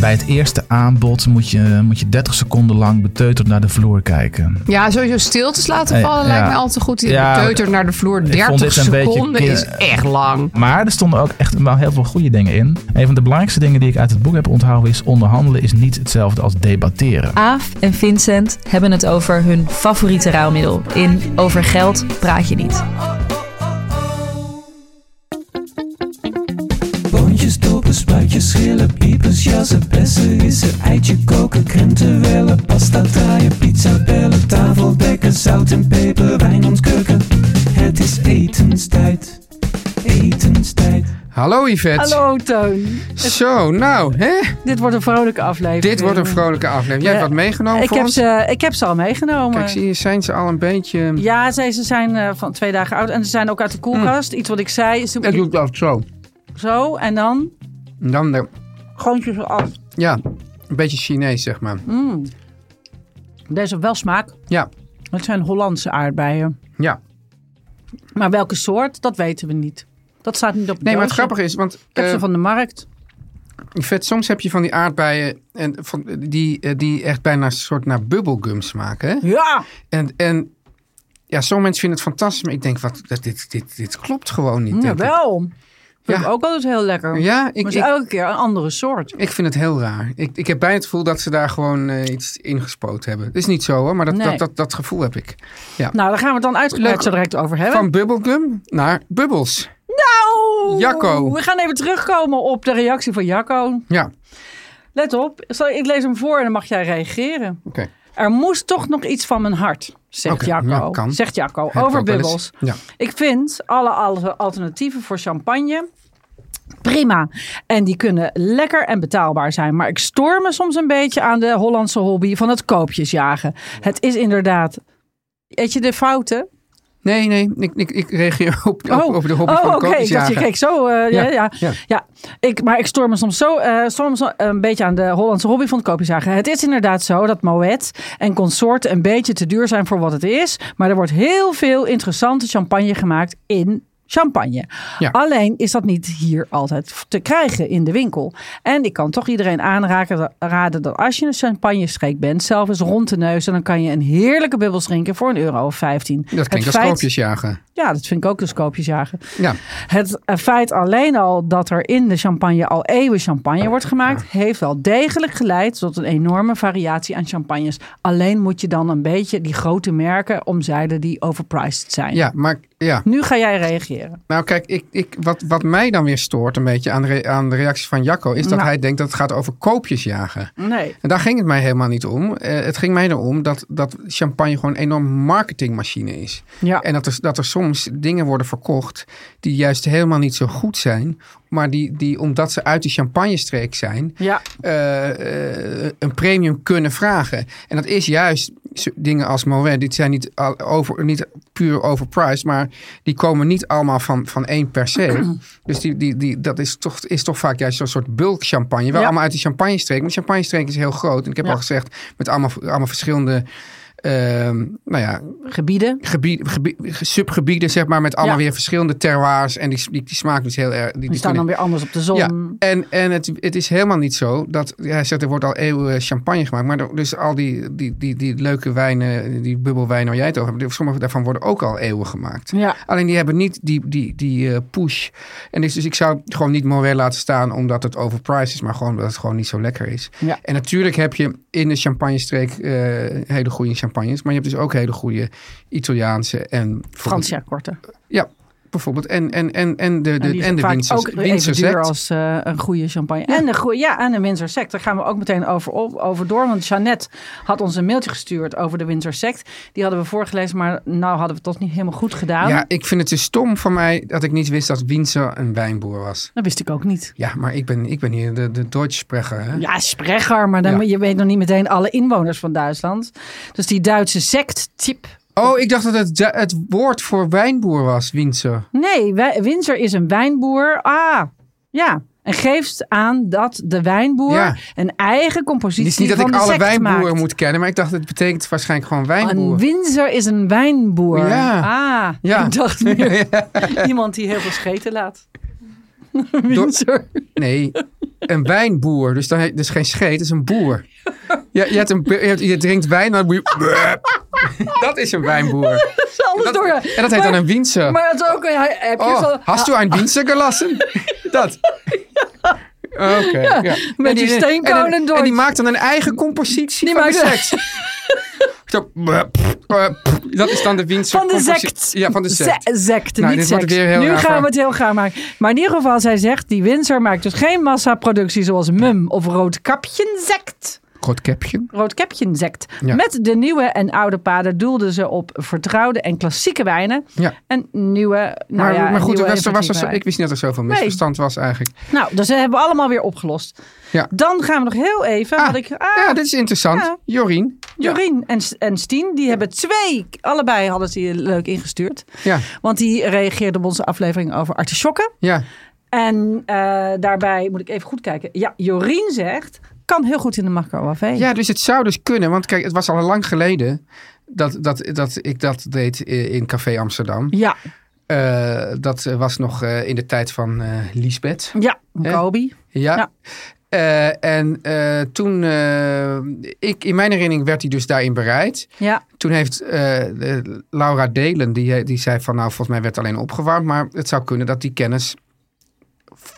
Bij het eerste aanbod moet je, moet je 30 seconden lang beteuterd naar de vloer kijken. Ja, sowieso stiltes laten Eh, vallen lijkt ja. mij altijd goed. Ja, Ja, Deuter naar de vloer, ik vond 30 dit een beetje seconden ki- is echt lang. Maar er stonden ook echt wel heel veel goede dingen in. Een van de belangrijkste dingen die ik uit het boek heb onthouden is... onderhandelen is niet hetzelfde als debatteren. Aaf en Vincent hebben het over hun favoriete ruilmiddel. In Over geld praat je niet. Boontjes, dopen, spruitjes, schillen, piepers, jassen, bessen, rissen, eitje koken, krenten wellen, pasta draaien, pizza bellen, tafel dekken, zout en peper, wijn ontkurken. Het is etenstijd, etenstijd. Hallo Yvette. Hallo Teun. Zo, nou, hè? Dit wordt een vrolijke aflevering. Dit wordt een vrolijke aflevering. Jij hebt Ja, wat meegenomen ik voor heb, ons? ze, ik heb ze al meegenomen. Kijk, zie je, zijn ze al een beetje... Ja, ze, ze zijn eh, van twee dagen oud en ze zijn ook uit de koelkast. Iets wat ik zei, is Mm. Ik doe het altijd zo. zo en dan En Dan de... gewoon je ze af. Ja, een beetje Chinees, zeg maar. Deze wel smaak. Ja, Het zijn Hollandse aardbeien. ja. Maar welke soort, dat weten we niet. Dat staat niet op het Nee, maar het doosje. grappige is, want Ik heb eh, ze van de markt. Yvette, soms heb je van die aardbeien en van, die, eh, die echt bijna een soort naar bubblegum smaken. Hè? Ja! En, en ja, sommige mensen vinden het fantastisch, maar ik denk, wat, dat- dit, dit, dit klopt gewoon niet. denk ik. Mm, Jawel. Vind Ja. ik ook altijd heel lekker. Ja, ik, maar ik, het is elke keer een andere soort. Ik vind het heel raar. Ik, ik heb bij het gevoel dat ze daar gewoon eh, iets ingespoot hebben. Het is niet zo hoor, maar dat, Nee. dat, dat, dat gevoel heb ik. Nou, daar gaan we het dan Leuk. uitgebreid zo direct over hebben. Van bubblegum naar bubbels. Nou, Jacco. we gaan even terugkomen op de reactie van Jacco. Ja, oké. Let op, zal ik ik lees hem voor en dan mag jij reageren. Er moest toch nog iets van mijn hart, zegt Oké, Jacco. ja, kan. Zegt Jacco, Heb ik over ook wel eens. bubbels. Ja. Ik vind alle, alle alternatieven voor champagne prima. En die kunnen lekker en betaalbaar zijn. Maar ik stoor me soms een beetje aan de Hollandse hobby van het koopjesjagen. Het is inderdaad... Eet je de fouten? Nee, nee, ik, ik, ik reageer op, op, op de hobby oh, van de oké. Ik dacht, je koopjesjager. keek zo. eh, ja, Ja, ja. ja. ja. Ik, maar ik stoor me soms zo, eh, soms een beetje aan de Hollandse hobby van het koopjesjagen. Het is inderdaad zo dat Moet en consorten een beetje te duur zijn voor wat het is. Maar er wordt heel veel interessante champagne gemaakt in champagne. Ja. Alleen is dat niet hier altijd te krijgen in de winkel. En ik kan toch iedereen aanraken raden dat als je een champagne-streek bent, zelf eens rond de neus, en dan kan je een heerlijke bubbel drinken voor een euro of 15. Dat klinkt als koopjesjager. Ja, dat vind ik ook dus koopjesjagen. Ja. Het eh, feit alleen al dat er in de champagne al eeuwen champagne wordt gemaakt, heeft wel degelijk geleid tot een enorme variatie aan champagnes. Alleen moet je dan een beetje die grote merken omzeilen die overpriced zijn. ja, maar ja. Nu ga jij reageren. Nou kijk, ik, ik, wat, wat mij dan weer stoort een beetje aan de, re- aan de reactie van Jacco... is dat Nou. hij denkt dat het gaat over koopjesjagen. Nee. En daar ging het mij helemaal niet om. Eh, het ging mij erom dat, dat champagne gewoon een enorme marketingmachine is. Ja. En dat er, dat er soms dingen worden verkocht die juist helemaal niet zo goed zijn. Maar die, die omdat ze uit de champagnestreek zijn, Ja. eh, eh, een premium kunnen vragen. En dat is juist zo- dingen als Moët. Dit zijn niet, al over, niet puur overpriced, maar die komen niet allemaal van, van één per se. dus die, die, die, dat is toch, is toch vaak juist zo'n soort bulk champagne. Wel Ja. allemaal uit de champagne-streek. Maar de champagne-streek is heel groot. En ik heb Ja. al gezegd, met allemaal, allemaal verschillende ehm, nou ja, Gebieden. gebied, gebied- subgebieden, zeg maar, met allemaal Ja. weer verschillende terroirs. En die, die, die smaak dus heel erg. Die staan dan weer anders op de zon. Ja, en, en het, het is helemaal niet zo dat. ja, Hij zegt er wordt al eeuwen eh, champagne gemaakt. Maar er- dus al die, die, die, die leuke wijnen, die bubbelwijnen waar jij het over hebt. Sommige daarvan worden ook al eeuwen gemaakt. Ja. Alleen die hebben niet die, die, die eh, push. En dus, dus ik zou het gewoon niet moreel laten staan omdat het overpriced is, maar gewoon omdat het gewoon niet zo lekker is. Ja. En natuurlijk heb je in de champagnestreek eh hele goede champagnes, maar je hebt dus ook hele goede Italiaanse en Franse korter. Ja, bijvoorbeeld. En, en, en, en de, de, En die en is de vaak Windsor- ook even Windsor duur sect. als eh, een goede champagne. En een goede, ja, en een Windsor sect. Daar gaan we ook meteen over, op- over door. Want Jeannette had ons een mailtje gestuurd over de Windsor sect. Die hadden we voorgelezen, maar nou hadden we het toch niet helemaal goed gedaan. Ja, ik vind het te stom van mij dat ik niet wist dat Windsor een wijnboer was. Dat wist ik ook niet. Ja, maar ik ben, ik ben hier de, de Deutschsprecher. Hè? Ja, Sprecher, maar dan, Ja. je weet nog niet meteen alle inwoners van Duitsland. Dus die Duitse sect-tip. Oh, ik dacht dat het, du- het woord voor wijnboer was, Windsor. Nee, wij- Windsor is een wijnboer. Ah, ja. En geeft aan dat de wijnboer Ja. een eigen compositie Het is niet dat van ik de alle sect wijnboeren maakt. moet kennen, maar ik dacht dat het betekent waarschijnlijk gewoon Een wijnboer. Windsor is een wijnboer. Ja. Ah, Ja. ik dacht meer iemand die heel veel scheten laat. Windsor. Nee, een wijnboer. Dus dan dus geen scheet, het is een boer. Je, je, hebt een, je, hebt- je drinkt wijn, dan moet je... Dat is een wijnboer. Alles door. Dat, en dat heet dan een Windsor. Maar het is ook... hij- Heb je Oh, zo, Ah. hast du ein Winzer gelassen? dat. Ah, Oké. ja. met En die steenkolen en- en, door. die maakt dan een eigen compositie Die van de maakt- sect. Zo, eh, pff, eh, pff. dat is dan de Winzer van de compositie- sect. Ja, van de sect. Ze- sect, Nou, niet dit wordt sect. weer heel nu raar gaan verhaal. we het heel gaar maken. Maar in ieder geval, zij zegt, die Windsor maakt dus geen massaproductie zoals mum of roodkapjenzekt. Roodkapje. Roodkapjenzekt. Ja. Met de nieuwe en oude paden doelden ze op vertrouwde en klassieke wijnen. Ja. En nieuwe, nou Maar, ja, maar goed, er nieuwe was, er en was er klassieke zo, wijnen. ik wist niet dat er zoveel misverstand was eigenlijk. Nou, dus dat hebben we allemaal weer opgelost. Ja. Dan gaan we nog heel even. Ah, had ik, ah, ja, dit is interessant. Ja. Jorien. Ja. Jorien en, en Stien, die hebben twee, allebei hadden ze hier leuk ingestuurd. Ja, Want die reageerde op onze aflevering over artisjokken. ja. En eh, daarbij moet ik even goed kijken. Ja, Jorien zegt, kan heel goed in de macro café. Ja, dus het zou dus kunnen. Want kijk, het was al lang geleden dat, dat, dat ik dat deed eh, in Café Amsterdam. ja, Eh, dat eh, was nog eh, in de tijd van eh Lisbeth. ja. Hè? Kobe. Ja. Ja. Eh, en eh, toen, eh, ik, in mijn herinnering werd hij dus daarin bereid. Ja, Toen heeft eh, eh, Laura Delen, die, die zei van nou volgens mij werd alleen opgewarmd. Maar het zou kunnen dat die kennis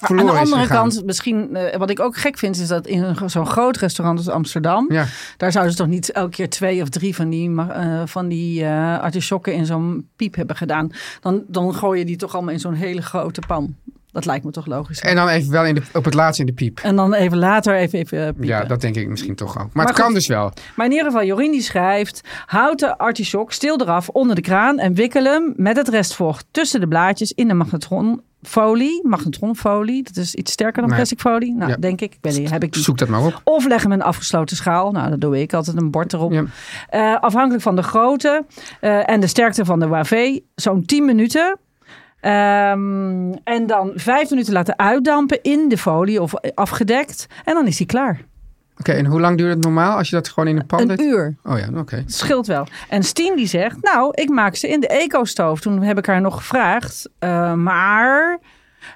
verloren aan de is andere gegaan. kant, misschien, eh, wat ik ook gek vind, is dat in een- zo'n groot restaurant als Amsterdam, Ja. daar zouden ze toch niet elke keer twee of drie van die, ma- eh van die eh artisjokken in zo'n piep hebben gedaan. Dan, dan gooi je die toch allemaal in zo'n hele grote pan. Dat lijkt me toch logisch. En dan even wel in de, op het laatst in de piep. En dan even later even, even eh, piepen. Ja, dat denk ik misschien toch ook. Maar, Maar het goed. kan dus wel. Maar in ieder geval, Jorien die schrijft... houd de artisjok stil eraf onder de kraan... en wikkel hem met het restvocht tussen de blaadjes in de magnetronfolie. Magnetronfolie, dat is iets sterker dan Nee. plasticfolie. Nou, Ja. denk ik. Ik weet niet, heb ik niet. Zoek dat maar op. Of leg hem in een afgesloten schaal. Nou, dat doe ik altijd, een bord erop. Ja. Eh, afhankelijk van de grootte eh, en de sterkte van de wavé, zo'n 10 minuten. Ehm, en dan vijf minuten laten uitdampen in de folie of afgedekt. En dan is hij klaar. Oké, en hoe lang duurt het normaal als je dat gewoon in een pan Een deed? uur. Oh ja, oké. Het scheelt wel. En Stien die zegt, nou, ik maak ze in de eco-stoof. Toen heb ik haar nog gevraagd, eh, maar...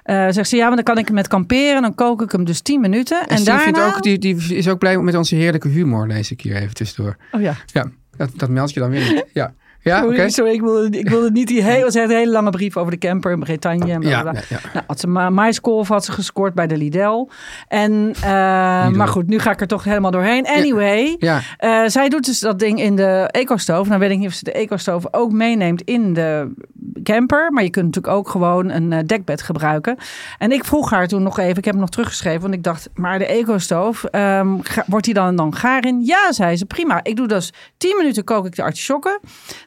eh, zegt ze, ja, maar dan kan ik hem met kamperen. Dan kook ik hem dus 10 minuten. En, En, Stien daarna... vindt ook, die, die is ook blij met onze heerlijke humor, lees ik hier even tussendoor. Oh ja, Ja, dat, dat meld je dan weer niet. Ja, ja Ah, oké. sorry, sorry, ik wilde, ik wilde niet die hele, ze had een hele lange brief over de camper in Bretagne. En bla, Ja, bla, bla. nee, ja. Nou, had ze ma- maiskolf had ze gescoord bij de Lidl. En, eh, maar doen. goed, nu ga ik er toch helemaal doorheen. Anyway, Ja. eh, zij doet dus dat ding in de eco-stoof. Nou weet ik niet of ze de eco-stoof ook meeneemt in de camper. Maar je kunt natuurlijk ook gewoon een eh, dekbed gebruiken. En ik vroeg haar toen nog even, ik heb hem nog teruggeschreven. Want ik dacht, maar de eco-stoof, ehm, ga- wordt die dan, dan gaar in? Ja, zei ze, prima. Ik doe dus 10 minuten kook ik de artisjokken.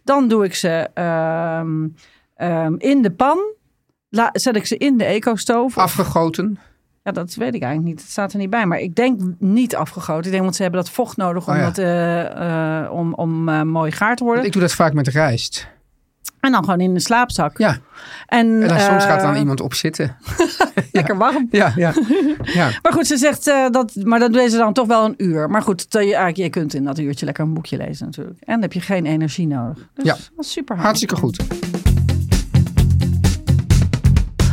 Dan doe ik ze ehm, ehm, in de pan. La- zet ik ze in de eco-stoof. Afgegoten. Ja, dat weet ik eigenlijk niet. Het staat er niet bij. Maar ik denk niet afgegoten. Ik denk, want ze hebben dat vocht nodig om, Oh ja. dat, eh, eh, om, om eh, mooi gaar te worden. Want ik doe dat vaak met rijst. En dan gewoon in de slaapzak. Ja. En, En dan soms eh, gaat er dan iemand op zitten. Lekker warm. Ja, ja. ja. Maar goed, ze zegt eh, dat. Maar dat deed ze dan toch wel een uur. Maar goed, dat je, eigenlijk, je kunt in dat uurtje lekker een boekje lezen natuurlijk. En dan heb je geen energie nodig. Dus Ja. dat was super handig. Hartstikke goed.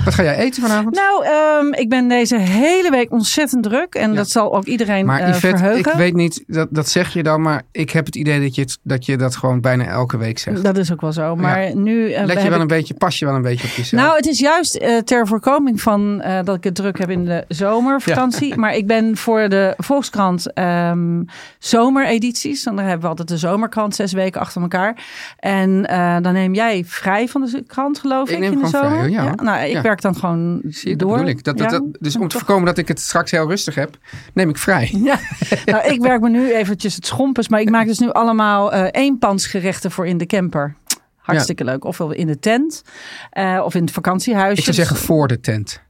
Wat ga jij eten vanavond? Nou, ehm, ik ben deze hele week ontzettend druk. En dat zal ook iedereen maar eh, Yvette, ik verheugen. weet niet, dat, dat zeg je dan, maar ik heb het idee dat je, het- dat je dat gewoon bijna elke week zegt. Dat is ook wel zo. Maar nu. eh, Let heb je wel ik- een beetje, pas je wel een beetje op jezelf. Nou, het is juist eh, ter voorkoming van eh, dat ik het druk heb in de zomervakantie. Maar ik ben voor de Volkskrant ehm, zomeredities. Dan hebben we altijd de zomerkrant zes weken achter elkaar. En eh, dan neem jij vrij van de krant, geloof Ik ik, neem in de gewoon zomer. vrij, ja. Nou, ik Ja. werk dan gewoon Zie je, dat door. bedoel ik. Dat, dat, Ja. dat- dus om te voorkomen dat ik het straks heel rustig heb, neem ik vrij. Ja, nou, ik werk me nu eventjes het schompers. Maar ik maak dus nu allemaal eh eenpansgerechten voor in de camper. Hartstikke leuk. Ofwel in de tent eh, of in het vakantiehuisje. Ik zou zeggen voor de tent.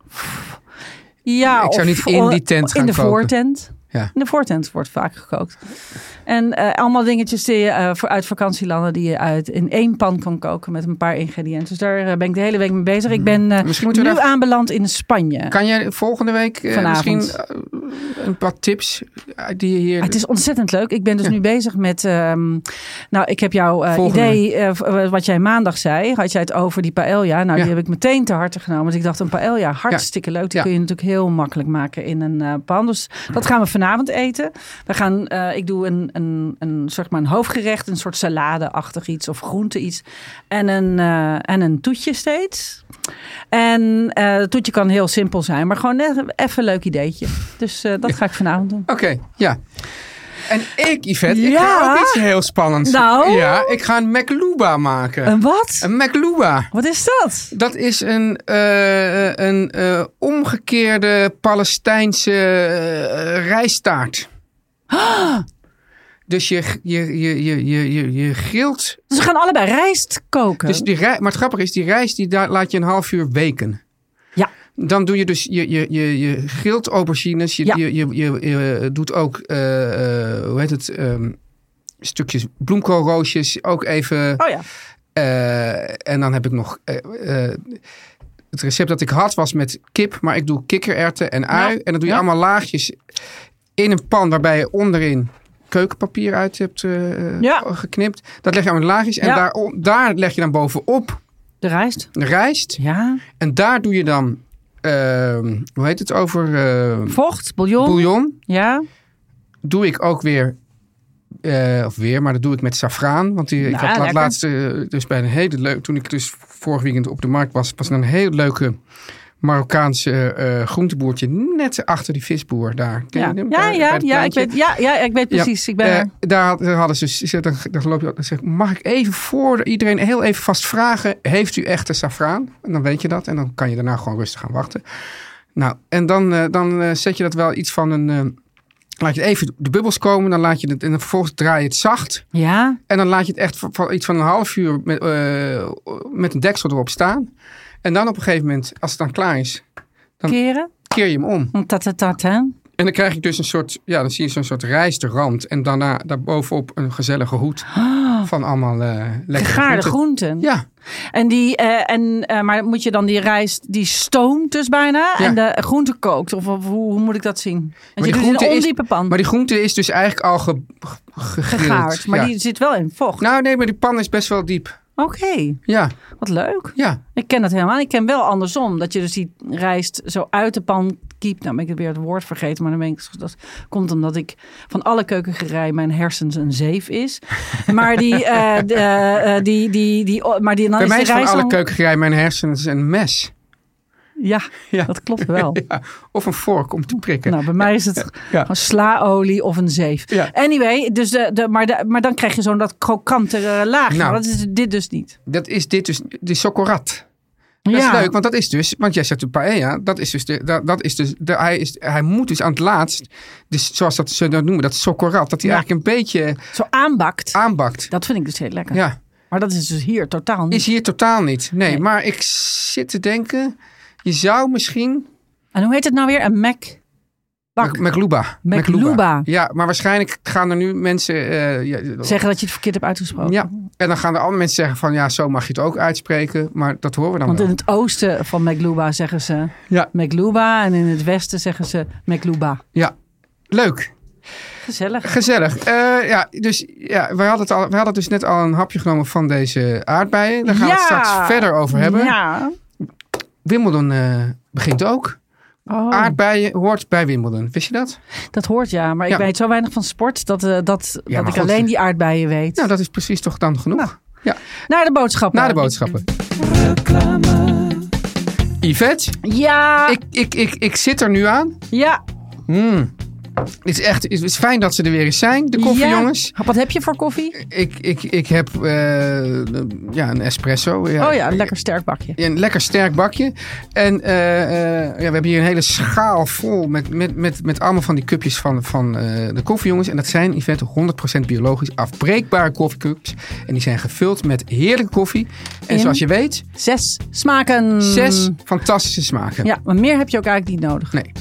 Ja, Ik zou of niet in die tent In gaan de koken. voortent. Ja. In de voortent wordt vaak gekookt. En eh, allemaal dingetjes die je eh, voor uit vakantielanden die je uit in één pan kan koken met een paar ingrediënten. Dus daar eh, ben ik de hele week mee bezig. Ik ben eh, Hmm. Misschien nu moeten we daar- aanbeland in Spanje. Kan jij volgende week eh, Vanavond. misschien eh, een paar tips eh, die je hier... Ah, het is ontzettend leuk. Ik ben dus nu bezig met. ehm, nou, ik heb jouw eh, Volgende. idee. eh, v- eh, wat jij maandag zei. Had jij het over die paella? Nou, Ja. die heb ik meteen te harte genomen. Want ik dacht, een paella, hartstikke leuk. Die Ja. kun je natuurlijk heel makkelijk maken in een eh, pan. Dus dat gaan we vanavond eten. We gaan, eh, ik doe een, een, een, zeg maar een hoofdgerecht. Een soort salade-achtig iets. Of groente iets. En een, eh, en een toetje steeds. En eh het toetje kan heel simpel zijn. Maar gewoon net even een leuk ideetje. Dus eh, dat ga ik vanavond doen. Oké, ja. En ik, Yvette, ik Ja? ga ook iets heel spannends. Nou? Ja, ik ga een McLuba maken. Een wat? Een McLuba. Wat is dat? Dat is een, eh, een eh, omgekeerde Palestijnse eh, rijstaart. Ah! Dus je, je, je, je, je, je, je grilt. Dus we gaan allebei rijst koken. Dus die rij, maar het grappige is, die rijst die daar laat je een half uur weken. Ja. Dan doe je dus, je, je, je, je grilt aubergines. Je, Ja. je, je, je, je doet ook, eh, eh, hoe heet het, ehm, stukjes bloemkoolroosjes. Ook even... oh ja. Eh, en dan heb ik nog. eh, eh, het recept dat ik had was met kip, maar ik doe kikkererwten en ui. en dan doe je ja. allemaal laagjes in een pan waarbij je onderin keukenpapier uit hebt eh, Ja. geknipt. Dat leg je allemaal in laagjes. En Ja. daar, daar leg je dan bovenop De rijst. de rijst. Ja. En daar doe je dan, ehm, hoe heet het, over eh Vocht, bouillon. bouillon. Ja. Doe ik ook weer, eh, of weer, maar dat doe ik met saffraan. Want die, ik Nou, had laat- lekker. laatst eh, dus bij een hele leuke, toen ik dus vorig weekend op de markt was, was er een hele leuke Marokkaanse eh groenteboertje net achter die visboer daar. Ken Ja, je hem? ja, Bij- bij ja, het ja, ik pleintje. weet, ja, ja, ik weet Ja. precies. Ik ben Eh, er. daar, had- daar hadden ze, ze ze- dan, dan loop je op en zegt, mag ik even voor iedereen heel even vast vragen, heeft u echte saffraan? En dan weet je dat en dan kan je daarna gewoon rustig gaan wachten. Nou, en dan, eh, dan eh, zet je dat wel iets van een, eh, laat je even de bubbels komen, dan laat je het, en dan vervolgens draai je het zacht. Ja. En dan laat je het echt van, van iets van een half uur met, eh, met een deksel erop staan. En dan op een gegeven moment, als het dan klaar is, Dan- Keren. keer je hem om. Tatatata. En dan krijg je dus een soort, ja, dan zie je zo'n soort rijsterrand. En daarna daarbovenop een gezellige hoed van allemaal eh lekkere Oh. Gegaarde groenten. groenten. Ja, En die, eh, en, eh, maar moet je dan die rijst, die stoomt dus bijna. Ja. En de groente kookt. Of, of hoe, hoe moet ik dat zien? Want die je doet het in groente een is- ondiepe pan. maar die groente is dus eigenlijk al ge, ge- gegrild. gegaard. Maar ja. die zit wel in vocht. Nou nee, maar die pan is best wel diep. Oké. Ja, Wat leuk. ja. Ik ken dat helemaal. niet. Ik ken wel andersom. Dat je dus die rijst zo uit de pan kiept. Nou ben ik weer het woord vergeten. Maar dan ben ik, dat komt omdat ik van alle keukengerij mijn hersens een zeef is. Maar die, eh, de, eh, die, die, die, oh, maar die dan Bij mij de is van rijst alle dan- keukengerij mijn hersens een mes. Ja, Ja. dat klopt wel. Ja. Of een vork om te prikken. Nou, bij mij is het Ja. gewoon slaolie of een zeef. Ja. Anyway, dus de, de, maar, de, maar dan krijg je zo'n dat krokantere laag. Nou. Maar dat is dit dus niet. Dat is dit dus, de chocorat. Dat is leuk, want dat is dus, want jij zegt de paella, dat is dus, de, dat, dat is dus de, hij, is, hij moet dus aan het laatst, dus zoals dat ze dat noemen, dat chocorat, dat hij Ja. eigenlijk een beetje Zo aanbakt. aanbakt. Dat vind ik dus heel lekker. Ja, Maar dat is dus hier totaal niet. is hier totaal niet. Nee, Nee. maar ik zit te denken, je zou misschien... En hoe heet het nou weer? Een Mac. Bak. Mac- Macluba. Macluba. Ja, maar waarschijnlijk gaan er nu mensen... eh, ja, Zeggen dat je het verkeerd hebt uitgesproken. Ja, En dan gaan de andere mensen zeggen van ja, zo mag je het ook uitspreken. Maar dat horen we dan Want wel. in het oosten van Mekluba zeggen ze Ja, Mekluba en in het westen zeggen ze Mekluba. ja, leuk. Gezellig. Gezellig. Eh, ja, dus ja, we hadden, het al, we hadden dus net al een hapje genomen van deze aardbeien. Daar gaan we het Ja. straks verder over hebben. Ja. Wimbledon eh, begint ook. Oh, Aardbeien hoort bij Wimbledon. Wist je dat? dat hoort ja, maar ik Ja. weet zo weinig van sport dat, eh, dat, maar dat ik goed. alleen die aardbeien weet. Nou, dat is precies toch dan genoeg. Nou. Ja, Naar de boodschappen. na de boodschappen. Yvette, Ja, ik, ik, ik, ik zit er nu aan. Hmm. ja. Het is echt het is fijn dat ze er weer eens zijn, de ja. koffiejongens. Wat heb je voor koffie? Ik, ik, ik heb eh, ja, een espresso. Oh ja, een lekker sterk bakje. Een lekker sterk bakje. En eh, eh, ja, we hebben hier een hele schaal vol met, met, met, met allemaal van die cupjes van, van eh, de koffiejongens. En dat zijn, Yvette, 100% biologisch afbreekbare koffiecups. En die zijn gevuld met heerlijke koffie. En In? zoals je weet, Zes smaken. zes fantastische smaken. Mm. Ja, maar meer heb je ook eigenlijk niet nodig. Nee.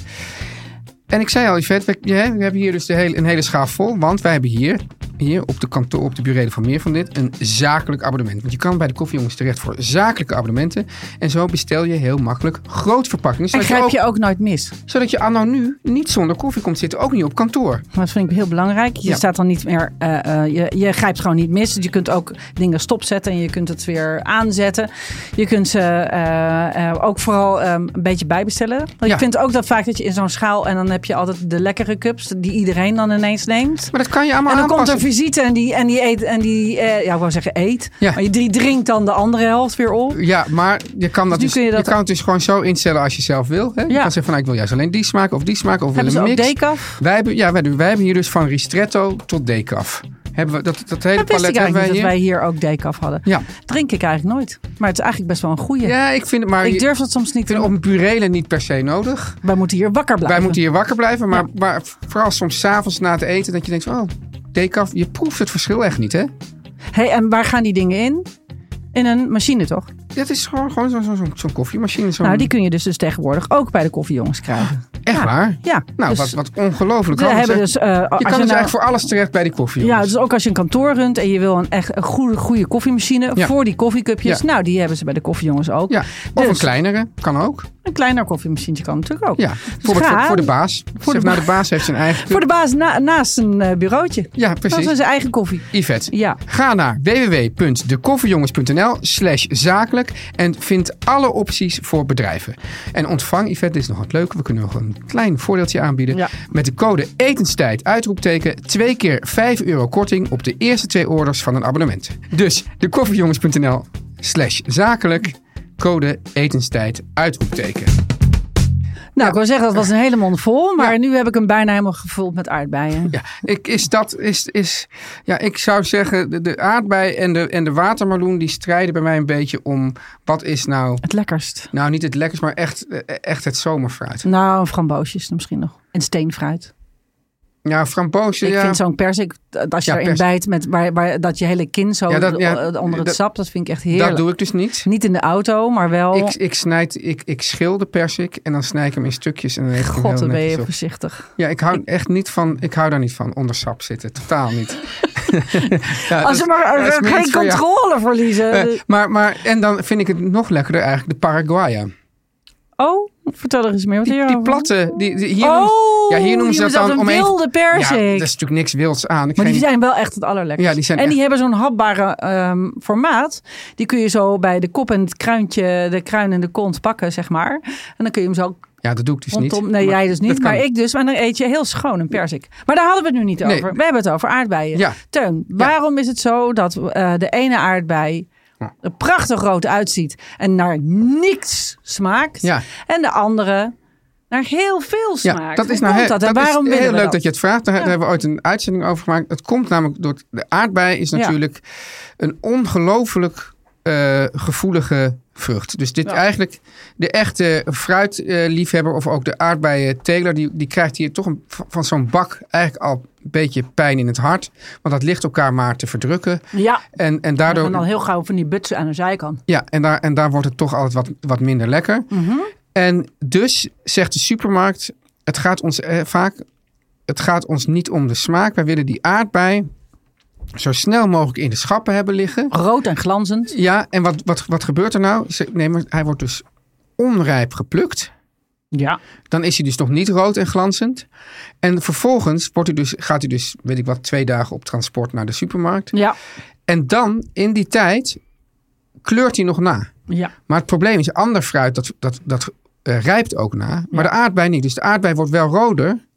En ik zei al, Yvette, we, hè, we hebben hier dus de hele, een hele schaal vol. Want wij hebben hier, hier op de kantoor, op de burelen van meer van dit, een zakelijk abonnement. Want je kan bij de koffiejongens terecht voor zakelijke abonnementen. En zo bestel je heel makkelijk grootverpakkingen. En Zodat, je grijp ook, je ook nooit mis. zodat je anno nu niet zonder koffie komt zitten. Ook niet op kantoor. Maar dat vind ik heel belangrijk. Je Ja. staat dan niet meer. eh, eh, je, je grijpt gewoon niet mis. Dus je kunt ook dingen stopzetten en je kunt het weer aanzetten. Je kunt ze eh, eh, ook vooral ehm, een beetje bijbestellen. Want Ja. Ik vind ook dat vaak dat je in zo'n schaal en dan heb je altijd de lekkere cups die iedereen dan ineens neemt. Maar dat kan je allemaal En dan komt aanpassen. er visite en die, en die eet en die, eh, ja, ik wou zeggen eet. Ja. Maar die drinkt dan de andere helft weer op. Ja, maar je kan, dat nu dus, kun je, je dat- kan het dus gewoon zo instellen als je zelf wil. Hè? Je Ja. kan zeggen van nou, ik wil juist alleen die smaak of die smaak of Hebben wil ze een ook mix. decaf? Wij hebben, ja, wij, doen- wij hebben hier dus van ristretto tot decaf. Hebben we, dat, dat hele Dat wist palet ik hebben wij eigenlijk niet dat hier. wij hier ook decaf hadden. Ja. Drink ik eigenlijk nooit. Maar het is eigenlijk best wel een goeie. ja, ik vind het maar... Ik je- durf Nou, dat soms niet Ik te vind op een burelen niet per se nodig. Wij moeten hier wakker blijven. Wij moeten hier wakker blijven. Maar, maar vooral soms s'avonds na het eten dat je denkt... Oh, decaf, je proeft het verschil echt niet, hè? Hey, en waar gaan die dingen in? In een machine, toch? Dat is gewoon, gewoon zo'n zo, zo, zo'n koffiemachine. Zo'n, Nou, die kun je dus, dus tegenwoordig ook bij de koffiejongens krijgen. Mhm. echt ja. waar? Ja. Nou, dus wat, wat ongelooflijk. we handig, hebben hè? dus... eh, als je kan dus nou- eigenlijk voor alles terecht bij die koffie. Ja, dus ook als je een kantoor runt en je wil een echt een goede, goede koffiemachine Ja. voor die koffiecupjes. Ja. Nou, die hebben ze bij de koffiejongens ook. ja. Of dus- een kleinere, kan ook. Een kleiner koffiemachientje kan natuurlijk ook. Dus Ja, bijvoorbeeld ga- voor, voor de baas. Voor de, de nou, de baas heeft zijn eigen... Voor de baas na- naast een eh, bureautje. Ja, Dat precies. is zijn eigen koffie. Yvette, Ja. ga naar www.dekoffiejongens.nl slash zakelijk en vind alle opties voor bedrijven. En ontvang, Yvette, dit is nog wat leuk. We kunnen nog een klein voordeeltje aanbieden. Ja. Met de code etenstijd, uitroepteken, twee keer 5 euro korting op de eerste twee orders van een abonnement. Dus dekoffiejongens.nl slash zakelijk, code etenstijd, uitroepteken. Nou, ik wil zeggen, dat was een hele mond vol. Maar Ja. nu heb ik hem bijna helemaal gevuld met aardbeien. Ja, ik, is dat, is, is, ja, ik zou zeggen, de, de aardbei en de, en de watermeloen, die strijden bij mij een beetje om, wat is nou... Het lekkerst. Nou, niet het lekkers, maar echt, eh, echt het zomerfruit. Nou, framboosjes dan misschien nog. En steenfruit. Ja, frambozen, Ik ja. vind zo'n persik, dat als je Ja, erin persik. bijt, met, waar, waar, dat je hele kin zo Ja, dat- ja, eh, onder het dat- sap, dat vind ik echt heerlijk. Oh. dat doe ik dus niet. Niet in de auto, maar wel... Ik, ik snijd, ik, ik schil de persik en dan snij ik hem in stukjes en dan leg ik hem God, heel dan ben netjes je op. voorzichtig. Ja, ik hou echt niet van, ik hou daar niet van, onder sap zitten. Totaal niet. Ja, als dat- we maar dat eh, is meer geen iets voor jou. controle verliezen. Eh, maar, maar, en dan vind ik het nog lekkerder eigenlijk, de Paraguaya. oh, vertel er eens meer. Wat Die, hier die over- platte, die, die- hier, Oh, noemen- ja, hier noemen ze je dat moet dan dat een om even- wilde persik. Ja, dat is natuurlijk niks wilds aan. Ik Maar geen- die zijn wel echt het allerlekkerst. Ja, die zijn en die echt- hebben zo'n hapbare ehm, formaat. Die kun je zo bij de kop en het kruintje, de kruin en de kont pakken, zeg maar. En dan kun je hem zo ja, dat doe ik dus niet. rondom... Nee, Maar jij dus dat niet, kan maar ik dus. Maar dan eet je heel schoon een persik. Maar daar hadden we het nu niet Nee. over. We hebben het over aardbeien. Ja. Teun, waarom is het zo dat eh, de ene aardbei er prachtig rood uitziet en naar niks smaakt? Ja. En de andere naar heel veel smaakt. Ja, dat is Hoe nou komt heel, dat? En is waarom willen heel we leuk dat? dat? je het vraagt. Daar, daar hebben we ooit een uitzending over gemaakt. Het komt namelijk door de aardbei is Ja. natuurlijk een ongelooflijk eh, gevoelige vrucht. Dus dit eigenlijk de echte fruitliefhebber of ook de aardbeienteler die, die krijgt hier toch een, van van zo'n bak eigenlijk al een beetje pijn in het hart, want dat ligt elkaar maar te verdrukken. Ja, En, en en dan daardoor al heel gauw van die butsen aan de zijkant. ja, en daar, en daar wordt het toch altijd wat, wat minder lekker. En dus zegt de supermarkt, het gaat ons eh, vaak, het gaat ons niet om de smaak. Wij willen die aardbei zo snel mogelijk in de schappen hebben liggen. Rood en glanzend. Ja, en wat, wat, wat gebeurt er nou? Ze- Nee, maar hij wordt dus onrijp geplukt. Ja. Dan is hij dus nog niet rood en glanzend. En vervolgens wordt hij dus, gaat hij dus, weet ik wat, twee dagen op transport naar de supermarkt. Ja. En dan, in die tijd, kleurt hij nog na. Ja. Maar het probleem is, ander fruit, dat, dat, dat eh, rijpt ook na. Maar de aardbei niet. Dus de aardbei wordt wel roder,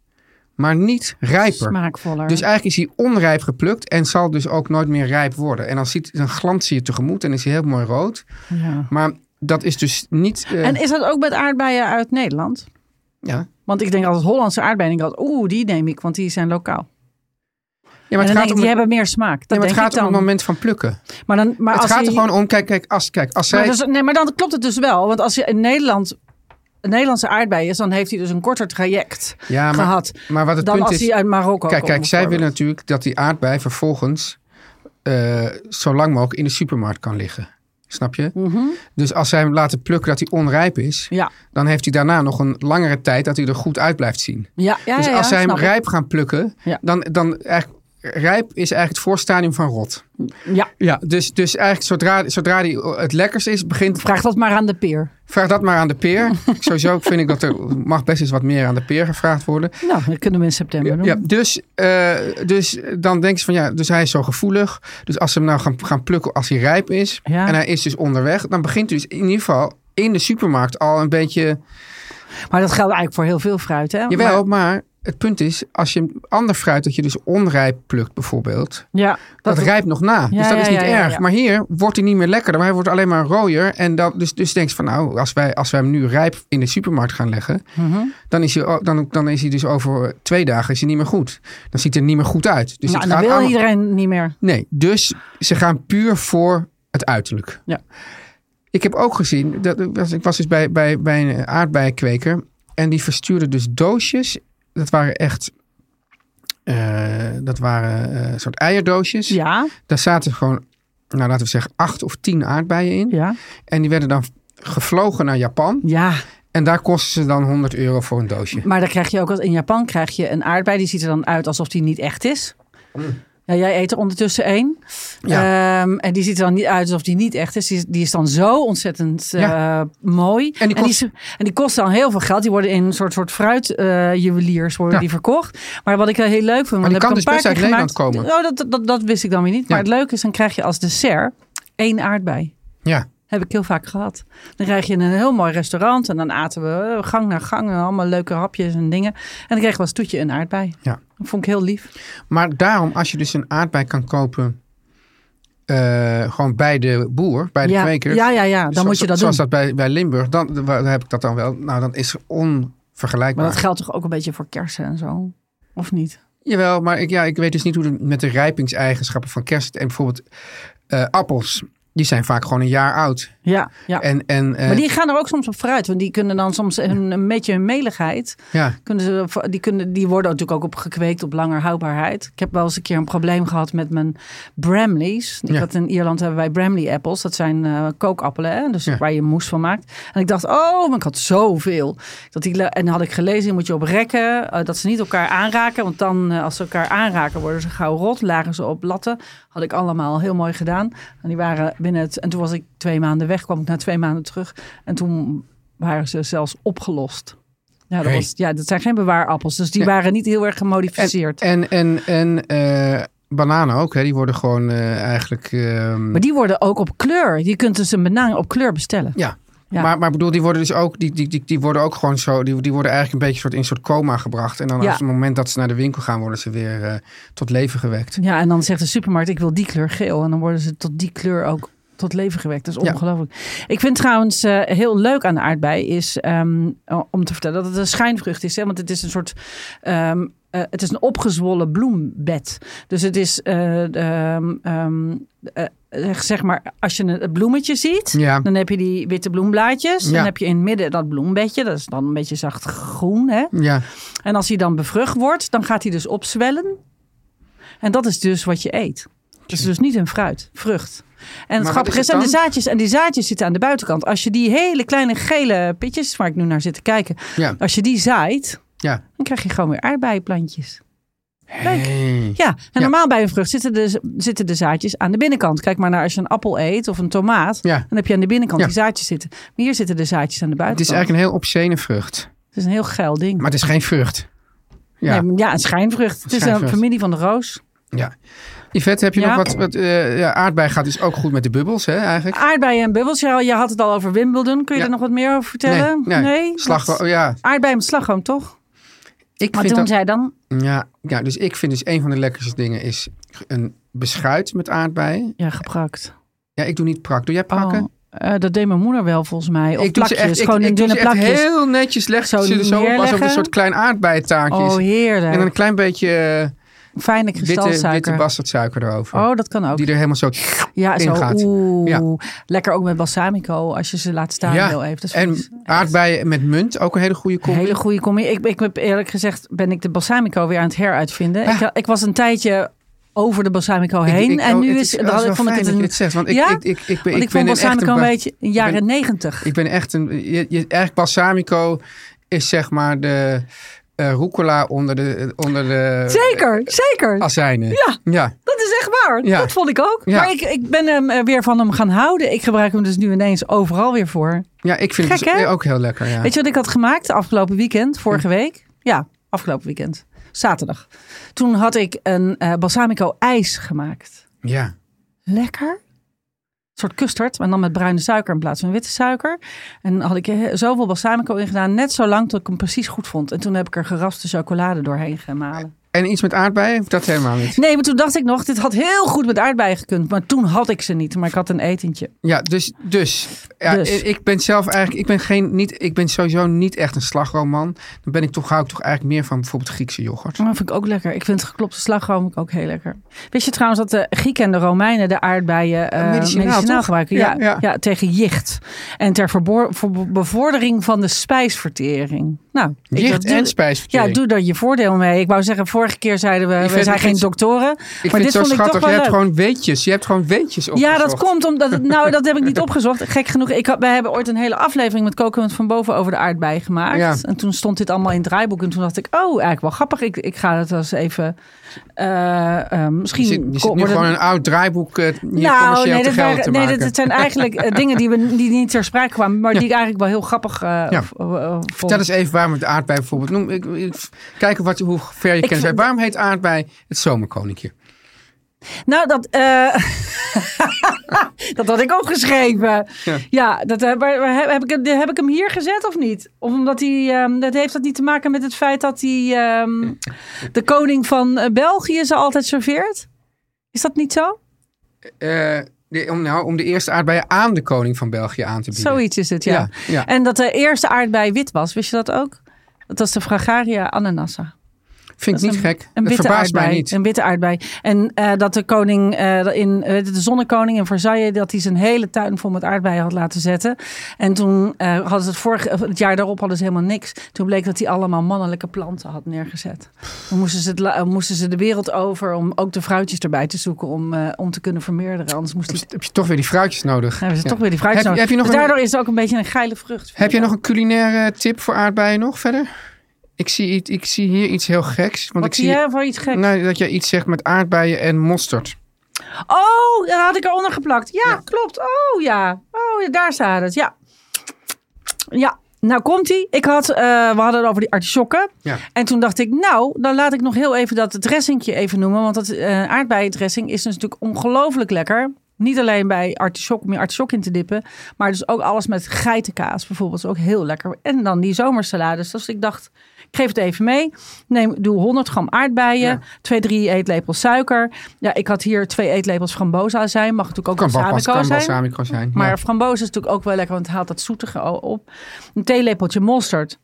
maar niet rijper. Smaakvoller. Dus eigenlijk is hij onrijp geplukt en zal dus ook nooit meer rijp worden. En dan, ziet, dan glanst hij je tegemoet en is hij heel mooi rood. Ja. Maar dat is dus niet... eh, En is dat ook met aardbeien uit Nederland? ja. Want ik denk altijd Hollandse aardbeien. Ik denk altijd, oeh, die neem ik, want die zijn lokaal. ja, Maar maar en het gaat, dan denk om, ik, die het- hebben meer smaak. ja, Dat maar het denk gaat ik om het dan. moment van plukken. Maar, dan, maar het als gaat die- er gewoon om, kijk, kijk, als, kijk, als Maar, zij... dus- nee, maar dan klopt het dus wel. Want als je in Nederland een Nederlandse aardbei is, dan heeft hij dus een korter traject ja, maar, gehad. maar wat het dan punt als is... hij uit Marokko Kijk, komt, kijk zij willen bijvoorbeeld. natuurlijk dat die aardbei vervolgens eh, zo lang mogelijk in de supermarkt kan liggen. Snap je? Mhm. Dus als zij hem laten plukken dat hij onrijp is, Ja, dan heeft hij daarna nog een langere tijd dat hij er goed uit blijft zien. ja, ja. dus ja, als zij hem snap ik. rijp gaan plukken, Ja. dan, dan eigenlijk, rijp is eigenlijk het voorstadium van rot. Ja, Ja. Dus, dus eigenlijk zodra, zodra die eh, het lekkerst is, begint. vraag dat maar aan de peer. Vraag dat maar aan de peer. Sowieso vind ik dat er mag best eens wat meer aan de peer gevraagd worden. Nou, dat kunnen we in september doen. Ja, dus, eh, dus dan denk je van ja, dus hij is zo gevoelig. Dus als ze hem nou gaan, gaan plukken als hij rijp is. Ja. En hij is dus onderweg. Dan begint hij dus in ieder geval in de supermarkt al een beetje. Maar dat geldt eigenlijk voor heel veel fruit, hè? Jawel, maar, het punt is, als je een ander fruit dat je dus onrijp plukt bijvoorbeeld. Maar- ja, Dat, dat- rijpt nog na. Ja, dus dat ja, is niet ja, ja, erg. ja. Maar hier wordt hij niet meer lekkerder. Maar hij wordt alleen maar rooier. En dat, dus, dus denk je van nou, als wij, als wij hem nu rijp in de supermarkt gaan leggen. Mhm. Dan, is hij, o- dan, dan is hij dus over twee dagen is hij niet meer goed. Dan ziet hij er niet meer goed uit. Dus het nou, en dan gaat wil allemaal- iedereen niet meer. Nee, dus ze gaan puur voor het uiterlijk. Ja. Ik heb ook gezien, dat, ik was- ik was dus bij, bij, bij een aardbeinkweker en die verstuurde dus doosjes. Dat waren echt, eh, dat waren eh, soort eierdoosjes. Ja, Daar zaten gewoon, nou laten we zeggen, acht of tien aardbeien in. ja, En die werden dan gevlogen naar Japan ja. en daar kostten ze dan 100 euro voor een doosje. Maar dan krijg je ook als in Japan krijg je een aardbei die ziet er dan uit alsof die niet echt is. Ja, jij eet er ondertussen één. Hmm. Ja. Ehm, en die ziet er dan niet uit alsof die niet echt is. Die, is- die is dan zo ontzettend eh, Ja. mooi. En die, kost- is- en die kost dan heel veel geld. Die worden in een soort, soort fruitjuweliers worden Ja. die verkocht. Maar wat ik wel heel leuk vind. Maar want die dat kan heb dus ik best een paar uit keer Nederland gemaakt. Oh, dat, dat, dat wist ik dan weer niet. Maar Ja. het leuke is, dan krijg je als dessert één aardbei. Ja. Heb ik heel vaak gehad. Dan krijg je in een heel mooi restaurant. En dan aten we eh, gang naar gang. En allemaal leuke hapjes en dingen. En dan kreeg ik als toetje een aardbei. Ja. Dat vond ik heel lief. Maar daarom, als je dus een aardbei kan kopen, eh, gewoon bij de boer, bij de ja. kweker. ja, ja, ja. Dan zo- moet je dat zoals doen. dat bij, bij Limburg, dan, waar heb ik dat dan wel. Nou, dan is het onvergelijkbaar. Maar dat geldt toch ook een beetje voor kersen en zo? Of niet? Jawel, maar ik, ja, ik weet dus niet hoe het met de rijpingseigenschappen van kerst en bijvoorbeeld eh, appels. Die zijn vaak gewoon een jaar oud. Ja, ja. En, en, eh, maar die gaan er ook soms op vooruit. Want die kunnen dan soms een, een beetje hun meligheid. ja, Kunnen ze, die, kunnen, die worden natuurlijk ook op gekweekt op langer houdbaarheid. Ik heb wel eens een keer een probleem gehad met mijn Bramleys. Ik Ja. had in Ierland hebben wij Bramley apples. Dat zijn eh, kookappelen, hè? dus Ja. waar je moes van maakt. En ik dacht, oh, maar ik had zoveel. Dat die, le- en dan had ik gelezen, die moet je op rekken. eh, dat ze niet elkaar aanraken. Want dan, eh, als ze elkaar aanraken, worden ze gauw rot. Lagen ze op latten. Had ik allemaal heel mooi gedaan. En die waren binnen het... En toen was ik twee maanden weg, kwam ik na twee maanden terug. En toen waren ze zelfs opgelost. Ja, dat, Hey. was, ja, dat zijn geen bewaarappels. Dus die Nee. waren niet heel erg en, gemodificeerd. en, en, en eh, bananen ook. Hè, die worden gewoon eh, eigenlijk... ehm, maar die worden ook op kleur. Je kunt dus een banaan op kleur bestellen. Ja. Ja. Maar, maar ik bedoel, die worden dus ook, die, die, die, die worden ook gewoon zo, die, die worden eigenlijk een beetje soort in een soort coma gebracht. En dan op Ja. het moment dat ze naar de winkel gaan, worden ze weer eh, tot leven gewekt. Ja, en dan zegt de supermarkt, ik wil die kleur geel. En dan worden ze tot die kleur ook tot leven gewekt. Dat is Ja. ongelooflijk. Ik vind trouwens eh, heel leuk aan de aardbei is ehm, om te vertellen dat het een schijnvrucht is. Hè? Want het is een soort... ehm, eh, het is een opgezwollen bloembed. Dus het is, eh, ehm, ehm, eh, eh, zeg maar, als je een- het bloemetje ziet, Ja. dan heb je die witte bloemblaadjes. Ja. Dan heb je in het midden dat bloembedje. Dat is dan een beetje zacht groen. Hè? Ja, En als hij dan bevrucht wordt, dan gaat hij dus opzwellen. En dat is dus wat je eet. Het is dus niet een fruit, vrucht. En het wat grappige is is, het en de dan? zaadjes, en die zaadjes zitten aan de buitenkant. Als je die hele kleine gele pitjes, waar ik nu naar zit te kijken, ja, als je die zaait, ja. dan krijg je gewoon weer aardbeienplantjes. Leuk. Ja, en normaal bij een vrucht zitten de, zitten de zaadjes aan de binnenkant. Kijk maar naar als je een appel eet of een tomaat. Ja. Dan heb je aan de binnenkant Ja. die zaadjes zitten. Maar hier zitten de zaadjes aan de Het is buitenkant. eigenlijk een heel obscene vrucht. Het is een heel geil ding. Maar het is geen vrucht. Ja. Nee, maar ja, een schijnvrucht. Het is een Schijnvrucht. familie van de roos. ja. Yvette, heb je Ja. nog wat... wat eh, ja, aardbei gaat dus ook goed met de bubbels, hè, eigenlijk? Aardbeien en bubbels. Ja, je had het al over Wimbledon. Kun Ja. je daar nog wat meer over vertellen? Nee, nee. Slag- Wat? ja. Aardbeien met slagroom, toch? Ik Wat vind doen dat, zij dan? ja, ja, dus ik vind dus een van de lekkerste dingen is een beschuit met aardbeien. Ja, geprakt. Ja, ik doe niet prak. Doe jij prakken? Oh, eh, dat deed mijn moeder wel volgens mij. Of ik doe ze plakjes, echt, ik, gewoon in ik doe dunne ze echt plakjes. heel netjes leg, Zo zo, zo op alsof het neerleggen. een soort klein aardbeientaartje Oh, is. heerlijk. En een klein beetje eh, Fijne witte, witte kristalsuiker. bastardsuiker erover. oh, dat kan ook. Die er helemaal zo ja, in zo. gaat. Oeh, Ja. lekker ook met balsamico als je ze laat staan Ja, heel even. Dat en vind ik aardbeien met munt, ook een hele goede Een combi. hele goede combi. Ik, ik heb eerlijk gezegd ben ik de balsamico weer aan het heruitvinden. Ik, ik was een tijdje over de balsamico Ah. Ik- heen ik- en oh, nu het is, oh, dan het is wel vond ik fijn het dat een je dit zegt, want ik, ja? ik, ik, ik, ben- Want ik, ik ben vond echt balsamico een, ba- beetje in jaren ben- negentig. Ik ben echt een... Je, je, eigenlijk balsamico is zeg maar de eh rucola onder de, onder de Zeker, zeker. azijnen. Ja. ja. Dat is echt waar. Ja. Dat vond ik ook. Ja. Maar ik, ik ben hem eh, weer van hem gaan houden. Ik gebruik hem dus nu ineens overal weer voor. Ja, ik vind Gek, het dus hè? ook heel lekker. Ja. Weet je wat ik had gemaakt afgelopen weekend, vorige week? Ja, afgelopen weekend. Zaterdag. Toen had ik een eh, balsamico ijs gemaakt. ja. Lekker. Een soort custard, maar dan met bruine suiker in plaats van witte suiker. En dan had ik eh, zoveel balsamico in gedaan, net zo lang tot ik hem precies goed vond. En toen heb ik er geraspte chocolade doorheen gemalen. En iets met aardbeien? Of Dat helemaal niet. Nee, maar toen dacht ik nog, dit had heel goed met aardbeien gekund. Maar toen had ik ze niet, maar ik had een etentje. Ja, dus, dus, ja, Dus. ik- ik ben zelf eigenlijk, ik ben geen, niet, ik ben sowieso niet echt een slagroomman. Dan ben ik toch, hou ik toch eigenlijk meer van bijvoorbeeld Griekse yoghurt. Maar Dat Oh, vind ik ook lekker. Ik vind geklopte slagroom ook heel lekker. Wist je trouwens dat de Grieken en de Romeinen de aardbeien eh, Medicinaal, medicinaal, toch? gebruiken? Ja, Ja, ja. ja. tegen jicht. En ter verboor- voor be- bevordering van de spijsvertering. Nou, ik dacht, Jicht doe- en spijsvertering. Ja, doe daar je voordeel mee. Ik wou zeggen, vorige keer zeiden we, we vind- zijn ik geen vind- doktoren. Ik maar vind het dit zo vond ik schattig. toch Je wel hebt leuk. gewoon weetjes. Je hebt gewoon weetjes opgezocht. Ja, dat komt omdat het. Nou, dat heb ik niet opgezocht. Gek genoeg. Ik had, wij hebben ooit een hele aflevering met Kokenmunt van Boven over de aardbei gemaakt. Ja. En toen stond dit allemaal in het draaiboek. En toen dacht ik, oh, eigenlijk wel grappig. Ik, ik ga het wel eens even. eh, eh, Je misschien. zit, je zit nu wordt het- gewoon een oud draaiboek eh, hier nou, commercieel nee, te dat, gelden waren- te nee, maken. dat, dat zijn eigenlijk eh, dingen die, we, die niet ter sprake kwamen, maar die ik eigenlijk wel heel grappig eh v- eh, vond. Vertel eens even waarom het aardbei bijvoorbeeld. Noem, ik, ik, kijken wat, hoe ver je kent. vind- Waarom heet aardbei het zomerkoninkje? Nou, dat, eh, dat had ik ook geschreven. Ja, dat, eh, maar, maar heb, heb ik, hem- heb ik hem hier gezet of niet? Of omdat hij. ehm, dat heeft dat niet te maken met het feit dat hij. ehm, de koning van eh, België ze altijd serveert? Is dat niet zo? Eh, de- om, nou, om de eerste aardbeien aan de koning van België aan te bieden. Zoiets is het, ja. Ja, ja. En dat de eerste aardbei wit was, wist je dat ook? Dat was de Fragaria ananassa. Vind ik Dat niet is een- gek. Een dat witte verbaast aardbei. mij niet. Een witte aardbei. En eh, dat de koning, eh, in, eh, de zonnekoning in Versailles, dat hij zijn hele tuin vol met aardbeien had laten zetten. En toen eh, hadden ze het vorige, of het jaar daarop hadden ze helemaal niks. Toen bleek dat hij allemaal mannelijke planten had neergezet. Toen moesten ze, het, la- eh, moesten ze de wereld over om ook de vrouwtjes erbij te zoeken om, eh, om te kunnen vermeerderen. Anders moest hij. Heb je toch weer die fruitjes nodig? hebben ze Ja. toch weer die vrouwtjes Heb- nodig. heb je nog dus een- daardoor is het ook een beetje een geile vrucht. vind Heb ik jij nog een culinaire tip voor aardbeien nog verder? Ik zie, i- ik zie hier iets heel geks. Want ik Wat zie zie jij voor iets geks? nou, dat jij iets zegt met aardbeien en mosterd. Oh, dat had ik eronder geplakt. Ja, klopt. Oh ja. Oh, ja, daar staat het. Ja. Ja. Nou komt ie. Ik had, eh, we hadden het over die artisjokken. Ja. En toen dacht ik, nou, dan laat ik nog heel even dat dressingje even noemen. Want dat eh aardbeiendressing is dus natuurlijk ongelooflijk lekker. Niet alleen bij artisjok, meer artisjok in te dippen. Maar dus ook alles met geitenkaas bijvoorbeeld is ook heel lekker. En dan die zomersalades. Dus ik dacht, ik geef het even mee. Neem, doe 100 gram aardbeien. 2, 3 eetlepels suiker. Ja, ik had hier twee eetlepels framboza zijn. Mag natuurlijk ook Kan balsamico balsamico kan zijn. balsamico zijn. Maar ja. frambozen is natuurlijk ook wel lekker, want het haalt dat zoetige o- op. Een theelepeltje mosterd.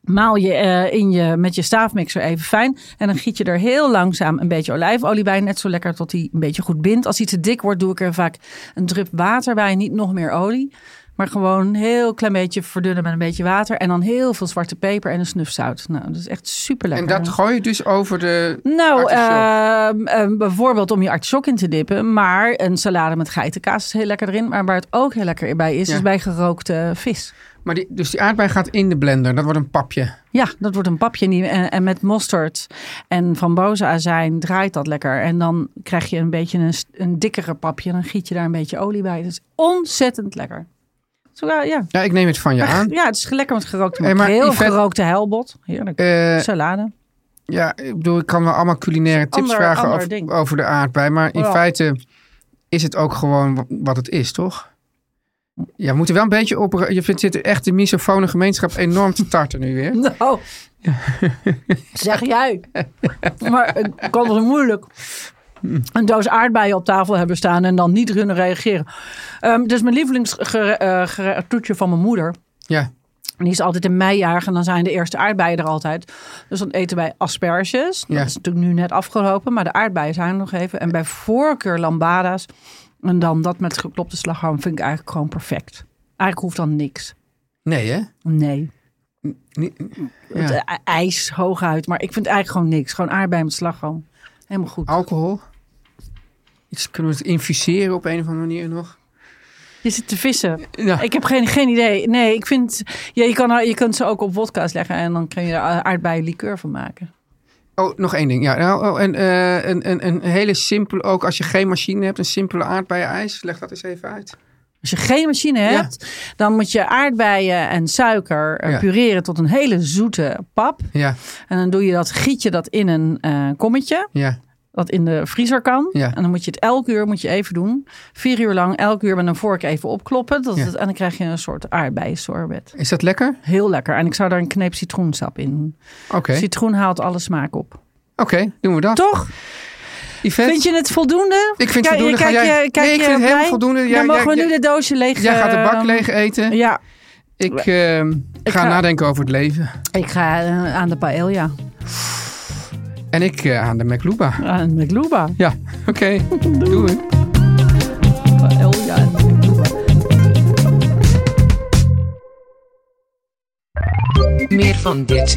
Maal je, eh, in je met je staafmixer even fijn. En dan giet je er heel langzaam een beetje olijfolie bij. Net zo lekker tot die een beetje goed bindt. Als hij te dik wordt, doe ik er vaak een drup water bij. Niet nog meer olie. Maar gewoon een heel klein beetje verdunnen met een beetje water. En dan heel veel zwarte peper en een snufzout. Nou, dat is echt super En lekker. dat gooi je dus over de... Nou, Artichok. ehm, ehm, bijvoorbeeld om je artichok in te dippen. Maar een salade met geitenkaas is heel lekker erin. Maar waar het ook heel lekker bij is, Ja. is bij gerookte vis. Maar die, dus die aardbei gaat in de blender. Dat wordt een papje. Ja, dat wordt een papje. En, die- en, en met mosterd en frambozenazijn draait dat lekker. En dan krijg je een beetje een, st- een dikkere papje. En dan giet je daar een beetje olie bij. Het is ontzettend lekker. Zo, ja, ja. Ja, ik neem het van je aan. ja, het is lekker met gerookte Hey, maar makreel of Yvette- gerookte helbot. Heerlijk. Eh, Salade. ja, ik bedoel, ik kan wel allemaal culinaire tips Ander- vragen ander over, ding. over de aardbei. Maar in Ja. feite is het ook gewoon wa- wat het is, toch? Ja, we moeten wel een beetje op... Je vindt, zit echt de misofone gemeenschap enorm te tarten nu weer. Nou, zeg jij. Maar het kan wel moeilijk. Een doos aardbeien op tafel hebben staan en dan niet kunnen reageren. Ehm dus mijn eh, lievelingstoetje van mijn moeder. Ja. En die is altijd in meijaar en dan zijn de eerste aardbeien er altijd. Dus dan eten wij asperges. Dat Ja. is natuurlijk nu net afgelopen, maar de aardbeien zijn er nog even. En bij voorkeur lambada's. En dan dat met geklopte slagroom vind ik eigenlijk gewoon perfect. Eigenlijk hoeft dan niks. Nee, hè? Nee. Nee, Het, ja. eh, ijs hooguit. Maar ik vind eigenlijk gewoon niks. Gewoon aardbeien met slagroom. Helemaal goed. Alcohol? Iets, kunnen we het infuseren op een of andere manier nog? Je zit te vissen. Ja. Ik heb geen, geen idee. Nee, ik vind... Ja, je, kan, er- je kunt ze ook op wodka's leggen en dan kun je er eh, aardbeien liqueur van maken. Oh, nog één ding. Ja, nou, oh, en, eh, een, een, een hele simpele, ook als je geen machine hebt, een simpele aardbeienijs. Leg dat eens even uit. Als je geen machine Ja. hebt, dan moet je aardbeien en suiker eh, Ja. pureren tot een hele zoete pap. Ja, En dan doe je dat, giet je dat in een eh, kommetje. ja. dat in de vriezer kan. Ja. En dan moet je het elk uur moet je even doen. Vier uur lang, elk uur met een vork even opkloppen. Dat is Ja. het, en dan krijg je een soort aardbeiensorbet. Is dat lekker? Heel lekker. En ik zou daar een kneep citroensap in doen. Oké, Citroen haalt alle smaak op. oké, doen we dat. Toch? Yvette, Vind je het voldoende? Ik vind het Kijk- voldoende. Ga Kijk, jij- je- kijk Nee, ik je vind het blij? helemaal voldoende. Jij- dan mogen jij- we nu jij- de doosje leeg... jij gaat de bak eh, leeg eten. Ja, Ik, ehm, ga, ga- nadenken over het leven. ik ga eh, aan de paella. En ik eh, aan de McLuba. Aan de McLuba. Ja, oké. Doei. Paella en McLuba. Meer van dit.